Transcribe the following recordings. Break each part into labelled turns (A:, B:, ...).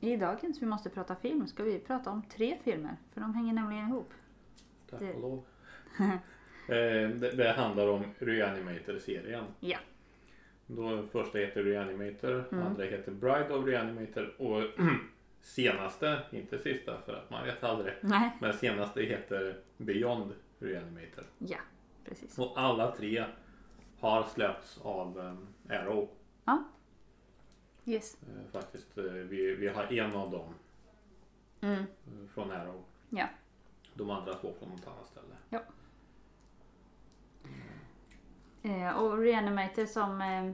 A: I dagens Vi måste prata film ska vi prata om tre filmer, för de hänger nämligen ihop.
B: Tack
A: Det-
B: och lov. eh, det, det handlar om Reanimator-serien.
A: Ja.
B: Då första heter Reanimator,
A: Mm.
B: andra heter Bride of Reanimator och senaste, inte sista för att man vet aldrig,
A: Nej.
B: men senaste heter Beyond Reanimator.
A: Ja, precis.
B: Och alla tre har släppts av eh, Arrow
A: Yes.
B: eh, faktiskt. Eh, vi, vi har en av dem
A: Mm.
B: eh, från Arrow.
A: Ja.
B: De andra två från något annat ställe.
A: Eh, och Reanimator som eh,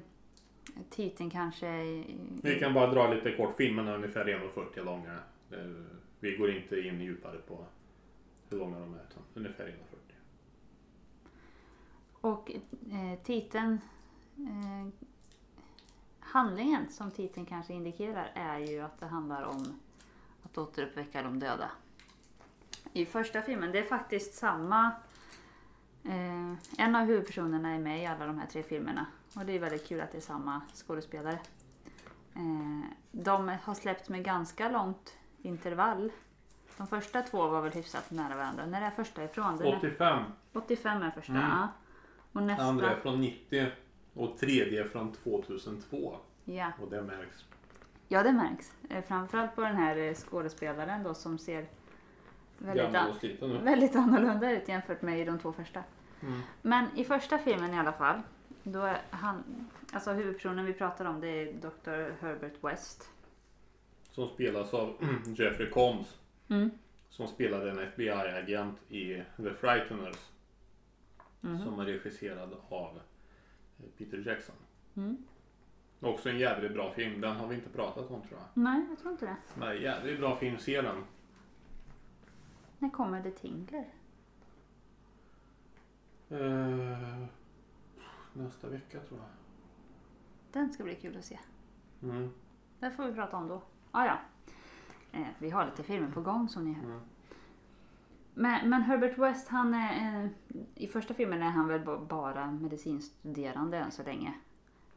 A: titeln kanske... är-
B: Vi kan bara dra lite kort. Filmen är ungefär 1,40 långa. Eh, Vi går inte in djupare på hur långa de är. Utan ungefär 1,40.
A: Och eh, titeln... Eh, handlingen som titeln kanske indikerar är ju att det handlar om att återuppväcka de döda. I första filmen, det är faktiskt samma... Eh, en av huvudpersonerna är med i alla de här tre filmerna. Och det är väldigt kul att det är samma skådespelare. Eh, de har släppts med ganska långt intervall. De första två var väl hyfsat nära varandra. När är första ifrån? Den är-
B: 85.
A: 85 är första.
B: Mm.
A: Ja. Och nästa.
B: Andra är från 90. Och tredje är från 2002.
A: Ja.
B: Och det märks.
A: ja, det märks. Eh, Framförallt på den här eh, skådespelaren då som ser väldigt,
B: Gammal och
A: an-
B: sliten nu.
A: väldigt annorlunda ut jämfört med i de två första.
B: Mm.
A: Men i första filmen i alla fall, då är han, alltså huvudpersonen vi pratar om det är Dr. Herbert West.
B: Som spelas av Jeffrey Combs.
A: Mm.
B: Som spelade en FBI-agent i The Frighteners. Som är regisserad av eh, Peter Jackson.
A: Mm.
B: Också en jävligt bra film. Den har vi inte pratat om tror jag.
A: Nej, jag tror inte det.
B: Nej, jävligt bra film. Se den.
A: När kommer The Tingler?
B: Eh, nästa vecka tror jag.
A: Den ska bli kul att se.
B: Mm.
A: Den får vi prata om då. Ah, ja. eh, vi har lite filmer på gång som ni hör.
B: Mm.
A: Men, men Herbert West, han är, eh, i första filmen är han väl ba- bara medicinstuderande än så länge.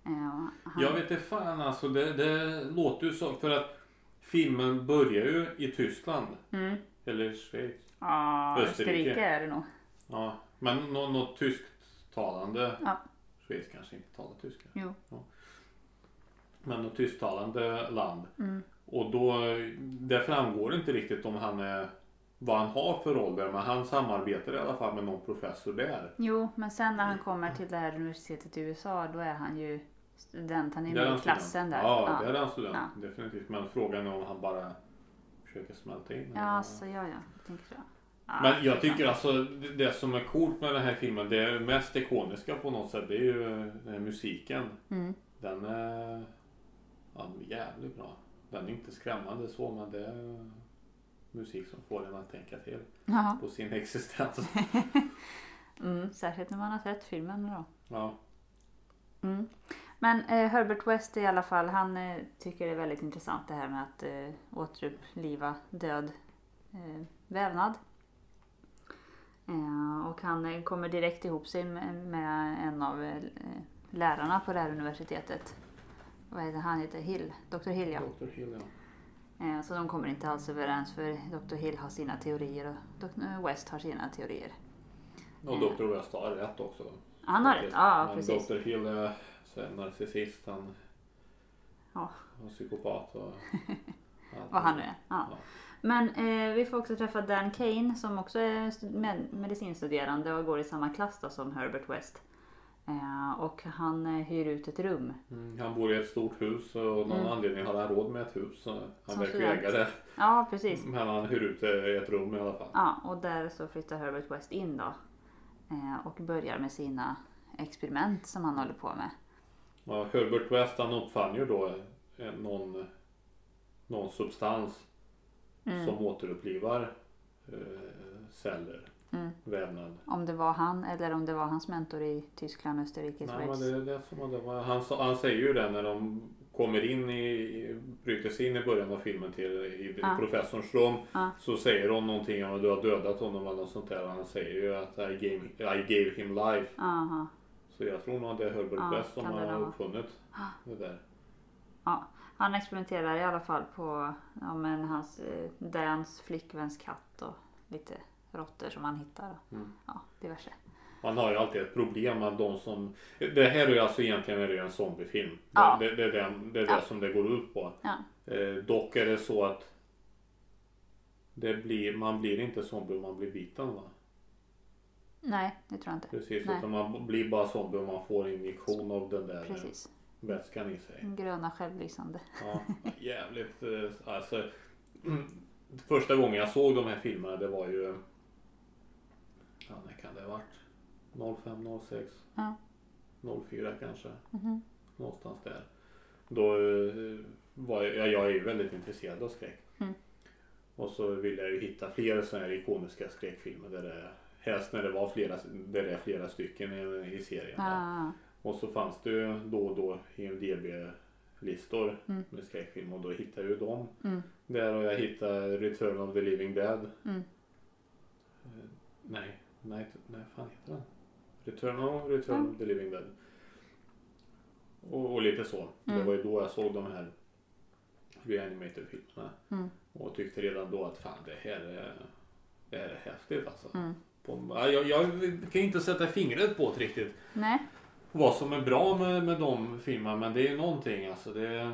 A: Eh, och han,
B: Jag vet inte fan alltså. Det, det låter ju så. För att filmen börjar ju i Tyskland.
A: Mm.
B: Eller Schweiz.
A: Ja,
B: Österrike.
A: Österrike är det nog.
B: Ja, men nå- något tysktalande.
A: Ja.
B: Schweiz kanske inte talar tyska.
A: Jo.
B: Men något tysktalande land.
A: Mm.
B: Och då, det framgår inte riktigt om han är, vad han har för roll där. Men han samarbetar i alla fall med någon professor där.
A: Jo, men sen när han kommer till det här universitetet i USA, då är han ju student. Han är ju
B: Där är
A: med
B: han
A: i klassen
B: student.
A: där.
B: Ja,
A: ja.
B: där är han student. Definitivt. Men frågan är om han bara försöker smälta in.
A: ja alltså, ja, ja. Jag tänker så. Ah, Ja,
B: Men jag
A: det är
B: tycker alltså det det som är coolt med den här filmen, det mest ikoniska på något sätt, det är ju eh, musiken.
A: sant. Mm.
B: Den är ja, den är jävligt bra. Den är inte skrämmande så, men det är musik som får en att tänka till
A: Ja.
B: på sin existens.
A: Mm, särskilt när man har sett filmen då.
B: Ja,
A: Mm. Men eh, Herbert West i alla fall, han eh, tycker det är väldigt intressant det här med att eh, återuppliva död eh, vävnad. Eh, och han eh, kommer direkt ihop sig med, med en av eh, lärarna på det här universitetet. Vad heter han? heter Hill? Dr Hill ja.
B: Dr. Hill ja.
A: Eh, så de kommer inte alls överens för Dr Hill har sina teorier och Dr West har sina teorier.
B: Och Dr. West har rätt också.
A: Han har rätt, ja
B: Men
A: precis.
B: Dr. Hill är så här narcissist, han
A: Ja.
B: och psykopat och allt.
A: Vad han nu är. Ja.
B: Ja.
A: Men eh, vi får också träffa Dan Kane som också är stu- med- medicinstuderande och går i samma klass då, som Herbert West. Eh, och han eh, hyr ut ett rum.
B: Mm, han bor i ett stort hus och av någon
A: Mm.
B: anledning har han råd med ett hus. Så han
A: Som
B: verkar ju
A: student.
B: äga det.
A: Ja, precis.
B: Men han hyr ut det i ett rum i alla fall.
A: Ja, och där så flyttar Herbert West in då. Eh, och börjar med sina experiment som han håller på med.
B: Ja, Herbert West han uppfann ju då eh, någon, någon substans
A: Mm.
B: som återupplivar eh, celler,
A: Mm.
B: vävnad.
A: Om det var han eller om det var hans mentor i Tyskland, Österrike,
B: Nej, men
A: Schweiz.
B: det är det som det var. Han, sa- han säger ju det när de kommer in i, i- bryter sig in i början av filmen till i,
A: Ja.
B: i professorns rum.
A: Ja.
B: Så säger de någonting om att du har dödat honom eller något sånt där. Och han säger ju att I gave, I gave him life.
A: Aha.
B: Så jag tror nog att det är Herbert
A: Ja,
B: West som
A: kan det
B: har
A: nog vara.
B: uppfunnit det där.
A: Ja. Han experimenterar i alla fall på ja, men hans eh, Dans flickväns katt och lite råttor som han hittar. Och,
B: Mm.
A: Ja, diverse.
B: Man har ju alltid ett problem med de som... Det här är ju alltså egentligen är det en zombiefilm.
A: Ja.
B: Det, det, det, är den- det är det
A: Ja.
B: som det går ut på.
A: Ja.
B: Eh, dock är det så att det blir, man blir inte zombie om man blir biten va?
A: Nej, det tror jag inte.
B: Precis,
A: Nej.
B: utan man blir bara zombie om man får injektion av den där
A: Precis.
B: vätskan i sig.
A: Gröna självlysande.
B: Ja, jävligt. eh, Alltså, mm, första gången jag såg de här filmerna det var ju... Ja, när kan det ha varit? 05, 06?
A: Ja.
B: 04 kanske.
A: Mhm.
B: Någonstans där. Då eh, var jag, ja, jag är ju väldigt intresserad av skräck.
A: Mm.
B: Och så ville jag ju hitta fler sådana här ikoniska skräckfilmer. Där det, helst när det var flera, där det är flera stycken i, i serien. va.
A: Ah,
B: Och så fanns det ju då och då IMDB-listor
A: Mm.
B: med skräckfilm och då hittade jag ju dem.
A: Mm.
B: Där och jag hittade Return of the Living Dead.
A: Mm.
B: Eh, nej, nej, nej, fan heter den? Return of, Return of the Living Dead. Och, och lite så. Det
A: Mm.
B: var ju då jag såg de här reanimated-filmerna.
A: Mm.
B: Och tyckte redan då att fan det här är, det här är häftigt alltså.
A: Mm.
B: På, ja, jag, jag kan inte sätta fingret på det riktigt
A: nej,
B: vad som är bra med, med de filmerna, men det är ju någonting alltså. Det är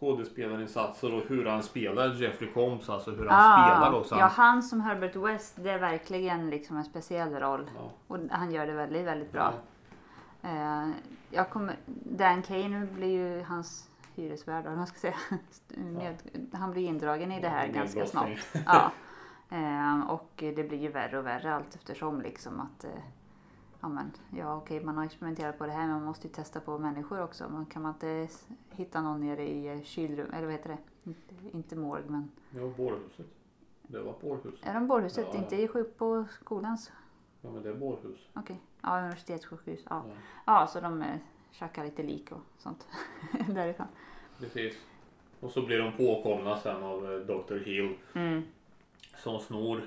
B: skådespelarinsatser och hur han spelar Jeffrey Combs, alltså hur han spelar också.
A: Ah, ja, han som Herbert West, det är verkligen liksom en speciell roll.
B: Ja.
A: Och han gör det väldigt, väldigt bra. Eh, jag kommer, Dan Kane blir ju hans hyresvärd, eller vad ska jag säga. Med, Han blir indragen i det här
B: Ja,
A: ganska snabbt.
B: nedblåsning.
A: Ja. Eh, och det blir ju värre och värre allt eftersom liksom att eh, ja, men, ja okej man har experimenterat på det här men man måste ju testa på människor också. Man, kan man inte s- hitta någon nere i eh, kylrum, eller vad heter det? Inte- Inte morg men,
B: Det var bårhuset. Det var bårhus.
A: är de bårhuset?
B: Ja, ja.
A: Inte i sjuk på skolans?
B: Ja men det är bårhus.
A: Okej, ja universitetssjukhus. Ja.
B: Ja.
A: ja så de eh, tjackar lite lik och sånt därifrån.
B: Precis. Och så blir de påkomna sen av eh, Dr. Hill
A: Mm.
B: som snor.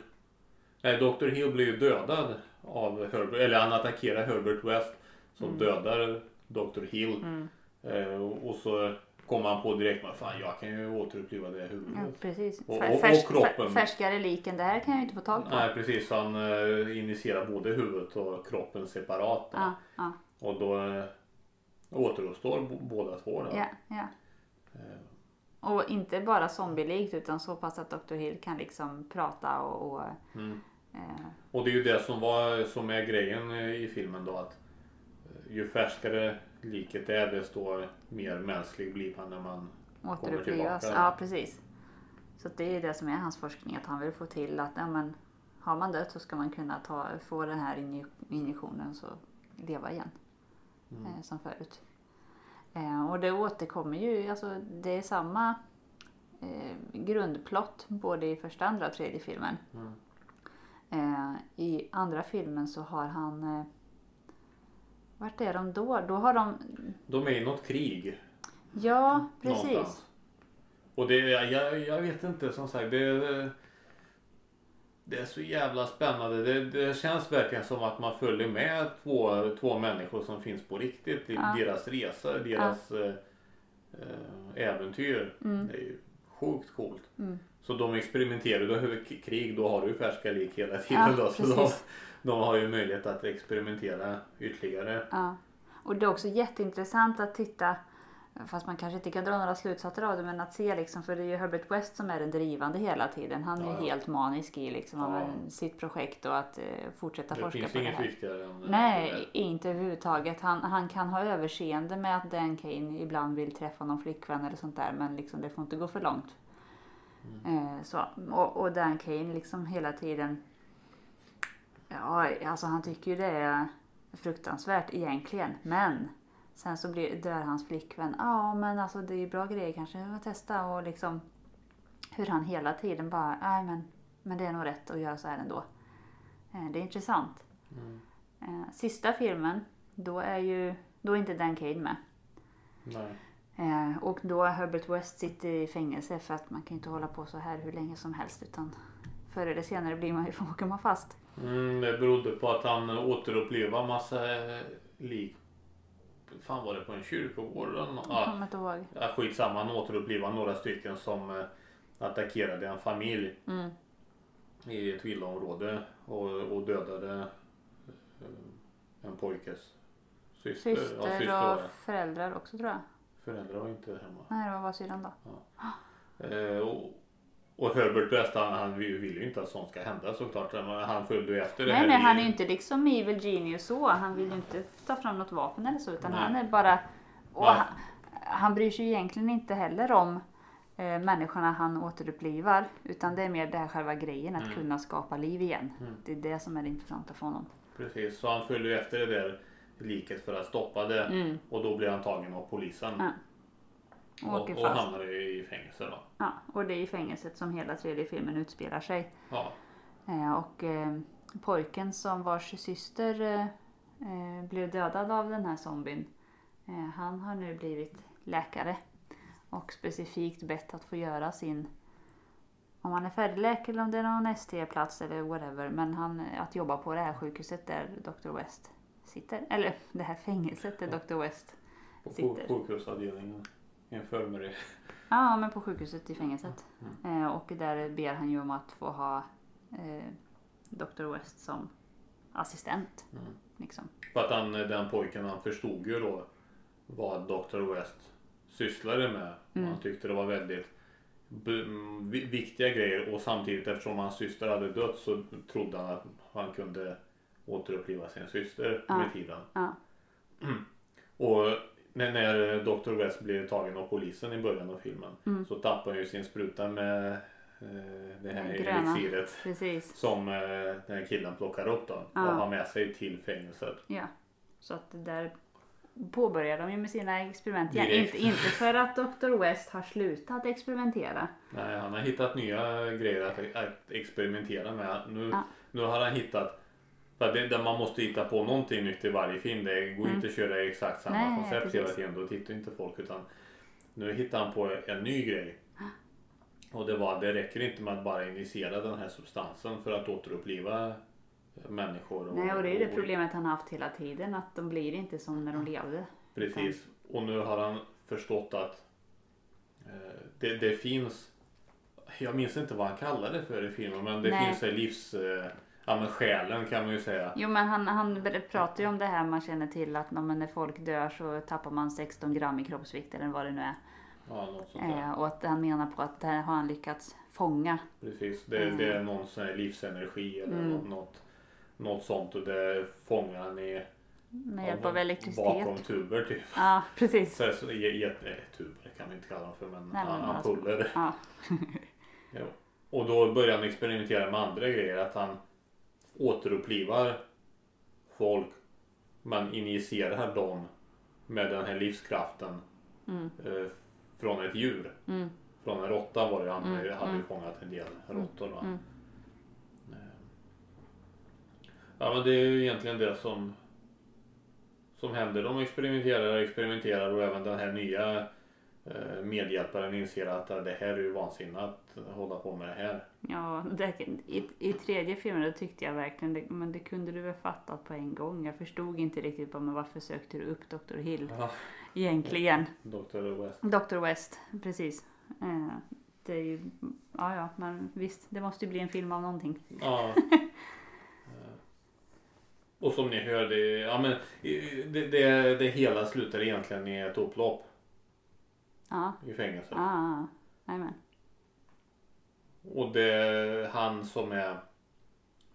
B: Nej, Dr. Hill blir ju dödad av Herbert, eller han attackerar Herbert West som dödar Dr. Hill.
A: Mm.
B: Eh, och och så kommer han på direkt med fan jag kan ju återuppliva det här
A: Ja,
B: huvudet.
A: precis.
B: Och-
A: Fär-
B: och- och
A: färsk-
B: kroppen.
A: fär- Färskare liken, det här kan jag ju inte få tag på.
B: Nej precis, han eh, injicerar både huvudet och kroppen separat. då.
A: Ja, ja,
B: Och då eh, återuppstår b- båda två. Då.
A: ja, ja.
B: Eh,
A: Och inte bara zombielikt utan så pass att Dr. Hill kan liksom prata och... och
B: Mm.
A: eh,
B: Och det är ju det som, var, som är grejen eh, i filmen då att eh, ju färskare liket är desto mer mänsklig blir man när man
A: återupplivas.
B: tillbaka.
A: Ja, precis. Så att det är ju det som är hans forskning, att han vill få till att ja, men, har man dött så ska man kunna ta, få den här inje- injektionen så leva igen.
B: Mm.
A: Eh, som förut. Eh, och det återkommer ju, alltså det är samma eh, grundplott både i första, andra och tredje filmen.
B: Mm.
A: Eh, I andra filmen så har han eh, vart är de då? Då har de...
B: De är i något krig.
A: Ja, precis.
B: Någonstans. Och det, jag, jag- jag vet inte som sagt. Det, det är så jävla spännande. Det, det känns verkligen som att man följer med två, två människor som finns på riktigt. i
A: Ja.
B: Deras resa, deras eh, eh, äventyr.
A: Mm.
B: Det är ju sjukt coolt. Så de experimenterar. Då har vi krig, då har du ju färska lik hela tiden.
A: Ja,
B: då, så de,
A: precis.
B: de har ju möjlighet att experimentera ytterligare.
A: Ja. Och det är också jätteintressant att titta, fast man kanske inte kan dra några slutsatser av det, men att se liksom, för det är ju Herbert West som är den drivande hela tiden. Han är
B: Ja, ja.
A: helt manisk i liksom,
B: Ja.
A: av sitt projekt och att eh, fortsätta
B: Det
A: forska
B: finns
A: på det
B: inget
A: här.
B: viktigare än eh,
A: Nej, inte överhuvudtaget. Han, han kan ha överseende med att Dan Kane ibland vill träffa någon flickvän eller sånt där, men liksom, det får inte gå för långt. Eh, så. Och, och Dan Kane liksom hela tiden, ja, alltså han tycker ju det är fruktansvärt egentligen, men sen så blir, dör hans flickvän. Ja, men alltså det är ju bra grejer kanske att testa och liksom hur han hela tiden bara, nej men, men det är nog rätt att göra så här ändå. Eh, det är intressant. Eh, sista filmen, då är ju då är inte Dan Cade med.
B: Nej.
A: Eh, och då är Herbert West sitter i fängelse för att man kan ju inte hålla på så här hur länge som helst utan förr eller senare blir man ju, åker man fast.
B: Mm, det berodde på att han återupplevde massa eh, lik fan var det på en kyrkogård eller något?
A: Jag
B: Ja,
A: kommer inte ihåg.
B: Ja, skitsamma, han återupplivar några stycken som eh, attackerade en familj
A: Mm.
B: i ett villaområde och, och dödade eh, en pojkes syster.
A: Syster
B: ja, syster var det.
A: och föräldrar också tror jag.
B: Föräldrar var inte hemma.
A: Nej, det var syrran då.
B: Eh, och, och Herbert West han, han vill vill ju inte att sånt ska hända såklart. Men han följde ju efter det
A: Nej,
B: här
A: nej,
B: i-
A: han är ju inte liksom evil genius så. Han vill ju inte ta fram något vapen eller så. Utan
B: Nej.
A: han är bara... Och
B: Nej.
A: han, han bryr sig ju egentligen inte heller om eh, människorna han återupplivar. Utan det är mer det här själva grejen,
B: Mm.
A: att kunna skapa liv igen. Det är det som är det intressanta för honom.
B: Precis, så han följde ju efter det där liket för att stoppa det.
A: Mm.
B: Och då blev han tagen av polisen.
A: Ja, Och,
B: Och,
A: åker
B: och
A: fast.
B: hamnade i fängelse då.
A: Ja, och det är i fängelset som hela tredje filmen utspelar sig.
B: Ja,
A: Eh, och eh, pojken som vars syster eh, eh, blev dödad av den här zombien. Eh, han har nu blivit läkare. Och specifikt bett att få göra sin, om han är färdigläkare eller om det är någon ST-plats eller whatever. Men han, att jobba på det här sjukhuset där Dr. West sitter. Eller det här fängelset där Dr. West.
B: på
A: Sitter.
B: sjuk- sjukhusavdelningen. Infirmary.
A: Ja, men på sjukhuset i fängelset. Eh, och där ber han ju om att få ha eh, Dr. West som assistent. Liksom.
B: För att han, den pojken han förstod ju då vad Dr. West sysslade med.
A: Mm.
B: Han tyckte det var väldigt b- m- vi- viktiga grejer och samtidigt eftersom hans syster hade dött så trodde han att han kunde återuppliva sin syster med tiden.
A: Ja.
B: Och när, när Dr. West blir tagen av polisen i början av filmen
A: Mm.
B: så tappar han ju sin spruta med eh, det här
A: Den gröna.
B: elixiret
A: Precis.
B: som eh, den här killen plockar upp då
A: Ja.
B: och har med sig till fängelset.
A: Ja. Så att det där påbörjar de ju med sina experiment igen.
B: Direkt.
A: Inte, inte för att Dr. West har slutat experimentera.
B: Nej, han har hittat nya grejer att, att experimentera med. Nu,
A: Ja.
B: nu har han hittat... För att det, där man måste hitta på någonting nytt i varje film. Det går inte att köra exakt samma
A: Mm. Nej,
B: koncept hela
A: precis.
B: tiden. Då tittar inte folk. Utan nu hittar han på en ny grej. Och det var det räcker inte med att bara injicera den här substansen för att återuppliva människor.
A: Nej, och det är ju det problemet han har haft hela tiden. Att de blir inte som när de levde.
B: Precis. Och nu har han förstått att eh, det, det finns, jag minns inte vad han kallade det för i filmen, men det
A: Nej.
B: finns en livs, eh, ja men själen kan man ju säga.
A: Jo men han, han ber- pratar ju om det här man känner till att när, man- när folk dör så tappar man 16 gram i kroppsvikt eller vad det nu är.
B: Ja, något sånt där.
A: Eh, och att han menar på att det här har han lyckats fånga.
B: Precis, det, det är någon sån här livsenergi eller
A: Mm.
B: något, något, något sånt och det fångar han i
A: Med hjälp
B: ja,
A: av elektricitet.
B: bakom tuber typ.
A: Ja precis.
B: Så, här, så, j- jättetuber eh, kan vi inte kalla dem för men,
A: Nej, men alltså-
B: ampuller.
A: Ja.
B: Jo. Och då börjar han experimentera med andra grejer. Att han återupplivar folk men injicerar dem med den här livskraften eh, från ett djur.
A: Mm.
B: Från en råtta var det han hade ju fångat en del råttor. Va? Eh. Ja men det är ju egentligen det som som händer. De experimenterar och experimenterar och även den här nya eh, medhjälparen inser att eh, det här är ju vansinne att hålla på med det här.
A: Ja, det, i, I tredje filmen då tyckte jag verkligen det, men det kunde du väl fattat på en gång. Jag förstod inte riktigt bara, men varför sökte du upp Dr. Hill
B: Ja.
A: egentligen?
B: Dr. West.
A: Dr. West, precis. Eh, det är ju, ja ja, men visst, det måste ju bli en film av någonting.
B: Ja. Eh, och som ni hör, det, ja, men, eh, det, det, det hela slutar egentligen i ett upplopp
A: Ja,
B: i fängelset.
A: ah, jajamän.
B: Och det är han som är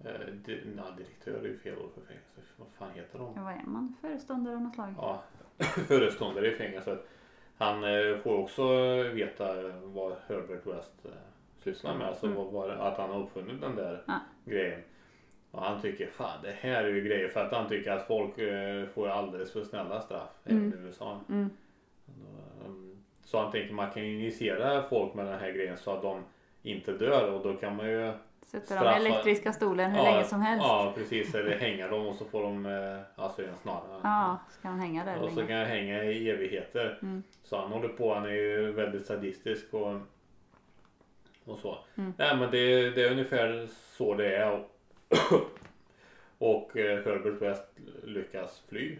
B: eh, di, na, direktör är ju fel ord för fängelse. Vad fan heter de?
A: Ja, Vad är man? Föreståndare av något slag?
B: Ja, föreståndare i fängelset. Han eh, får också veta eh, vad Herbert West eh, sysslar med. Alltså vad, vad, att han har uppfunnit den där
A: Mm. Ja.
B: grejen. Och han tycker fan det här är ju grejer för att han tycker att folk eh, får alldeles för snälla straff även i USA.
A: Mm.
B: Då, ehm, Så han tänker man kan injicera folk med den här grejen så att de inte dör och då kan man ju
A: Sätter de
B: Straffa-
A: elektriska stolen hur länge som helst? Ja,
B: Ja precis eller hänga dem och så får de eh, alltså en snara.
A: så kan de hänga där
B: Och så
A: länge.
B: kan jag hänga i evigheter.
A: Mm.
B: Så han håller på, han är ju väldigt sadistisk och, och så.
A: Mm.
B: Nej men det, det är ungefär så det är. Och, och eh, Herbert West lyckas fly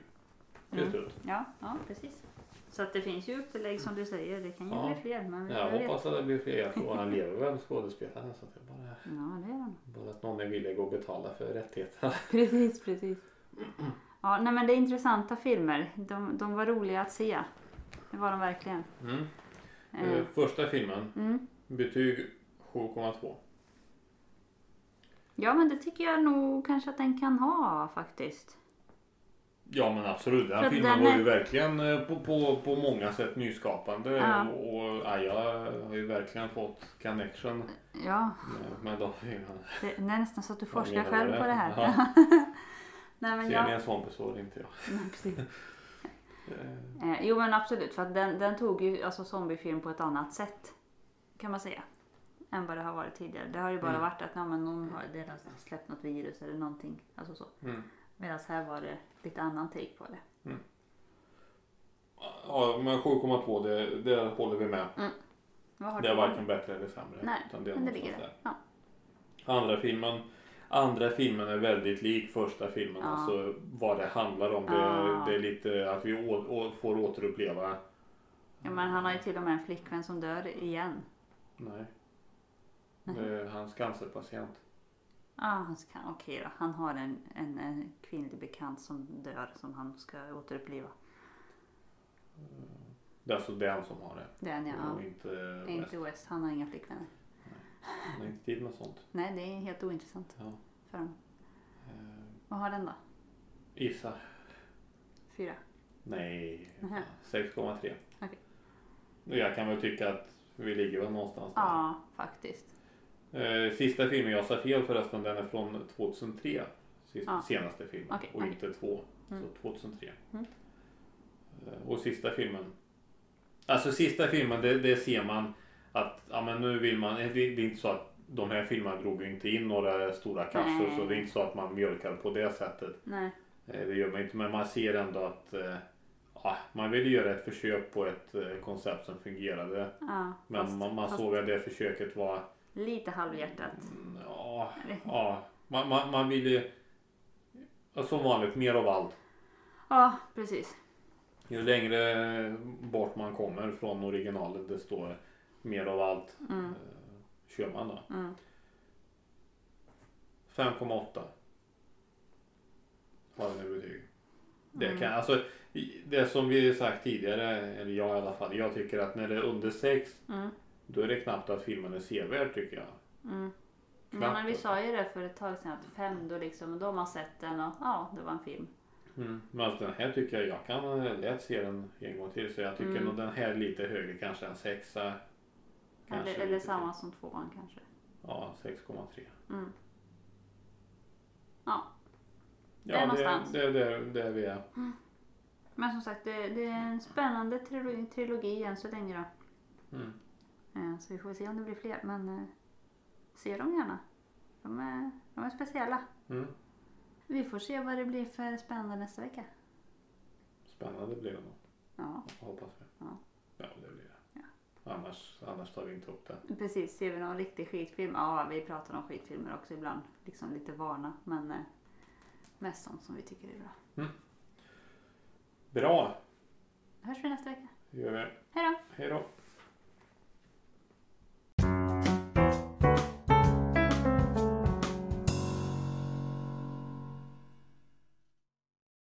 B: till slut.
A: Ja, ja precis. Så att det finns ju upplägg som du säger. Det kan ju
B: Ja.
A: bli fler. Men vi
B: Jag
A: får
B: hoppas att det blir fler. Jag tror han lever väl skådespelaren. Så att det är bara,
A: Ja, det är de.
B: bara att någon är villig att betala för rättigheterna.
A: Precis, precis. Ja, nej men det är intressanta filmer. De, de var roliga att se. Det var de verkligen.
B: Mm.
A: Eh,
B: Eh, Första filmen.
A: Mm.
B: Betyg 7,2.
A: Ja, men det tycker jag nog kanske att den kan ha faktiskt.
B: Ja men absolut. Den
A: För
B: här
A: att
B: filmen
A: den
B: var
A: är-
B: ju verkligen eh, på, på, på många sätt nyskapande.
A: Ja.
B: Och ja, jag har ju verkligen fått connection
A: Ja,
B: med- med de filmerna.
A: det, det är nästan så att du forskar
B: mina
A: själv
B: vänner.
A: på det här.
B: Ja.
A: nej, men
B: Ser ni
A: jag,
B: en sån person inte jag.
A: nej, precis.
B: Eh,
A: Eh, jo, men absolut. För att den, den tog ju alltså zombiefilm på ett annat sätt. Kan man säga. Än vad det har varit tidigare. Det har ju bara
B: Mm.
A: varit att ja, men någon har deras släppt något virus eller någonting. Alltså så.
B: Mm.
A: Medan här var det lite annan take på det.
B: Ja men 7,2 det, det håller vi med.
A: Vad har
B: Det
A: du?
B: är varken bättre eller sämre.
A: Nej,
B: utan det är
A: men det
B: någonstans
A: ligger där. Ja.
B: Andra filmen, andra filmen är väldigt lik första filmen.
A: Ja.
B: Alltså vad det handlar om. Det,
A: Ja.
B: det är lite att vi å, å, får återuppleva.
A: Ja, men han har ju till och med en flickvän som dör igen.
B: Nej. Det är hans cancerpatient.
A: Ah, han ska, okej då. Han har en, en, en kvinnlig bekant som dör som han ska återuppliva.
B: Det är alltså den som har det.
A: Den ja.
B: Och
A: ja.
B: inte,
A: Inte West, han har inga flickvänner.
B: Han har inte tid med sånt.
A: Nej, det är helt ointressant
B: Ja.
A: för honom.
B: Eh,
A: Vad har den då?
B: Isa.
A: Fyra?
B: Nej.
A: Nähä.
B: 6,3.
A: Okej.
B: Nu, Jag kan väl tycka att vi ligger väl någonstans där.
A: Ja, faktiskt.
B: Eh, sista filmen, jag sa fel förresten, den är från 2003. Sist,
A: Ja.
B: Senaste filmen
A: Okej,
B: och
A: okej.
B: inte två.
A: Mm.
B: Så 2003.
A: Mm.
B: Eh, och sista filmen. Alltså sista filmen, det, det ser man att ja, men nu vill man. Det, det är inte så att de här filmerna drog ju inte in några stora kassor
A: Nej.
B: så det är inte så att man mjölkar på det sättet.
A: Nej.
B: Eh, det gör man inte men man ser ändå att eh, ja, man ville göra ett försök på ett eh, koncept som fungerade.
A: Ja,
B: Men
A: fast,
B: man, man
A: fast
B: såg att det försöket var
A: lite halvhjärtat.
B: Mm, Ja,
A: Eller?
B: ja. Man, man, man vill ju ja, som vanligt mer av allt.
A: Ja, precis.
B: Ju längre bort man kommer från originalet desto mer av allt
A: Mm,
B: kör man då.
A: mm.
B: 5,8 har den i betyg. Det, kan, alltså, i- det som vi sagt tidigare, eller jag i alla fall, jag tycker att när det är under 6
A: Mm.
B: då är det knappt att filmen är sevärd tycker jag.
A: mm. Nej, men
B: Knappt.
A: vi sa ju det för ett tag sedan att fem då liksom, då har man sett den och ja, det var en film.
B: Mm. Men alltså den här tycker jag, jag kan eh, lätt se den en gång till. Så jag tycker
A: Mm.
B: nog den här är lite högre, kanske en sexa. Kanske
A: Eller, eller
B: lite
A: samma som tvåan kanske.
B: till. Ja, 6,3.
A: Mm. Ja,
B: Ja, det
A: någonstans.
B: Det är där, där vi är.
A: men som sagt det, det är en spännande trilogi, trilogi än så länge då.
B: Mm.
A: Eh, Så vi får se om det blir fler. Men eh, se dem gärna. De är, de är speciella.
B: Mm.
A: Vi får se vad det blir för spännande nästa vecka.
B: Spännande blir det nog,
A: Ja,
B: hoppas vi.
A: Ja.
B: ja, det blir det. Annars, annars tar vi inte upp det.
A: precis. Ser vi någon riktig skitfilm? Ja, vi pratar om skitfilmer också ibland. Liksom lite varna. Men eh, mest sånt som vi tycker är bra.
B: Bra,
A: Hörs vi nästa vecka.
B: gör vi.
A: Hej då!
B: Hej då.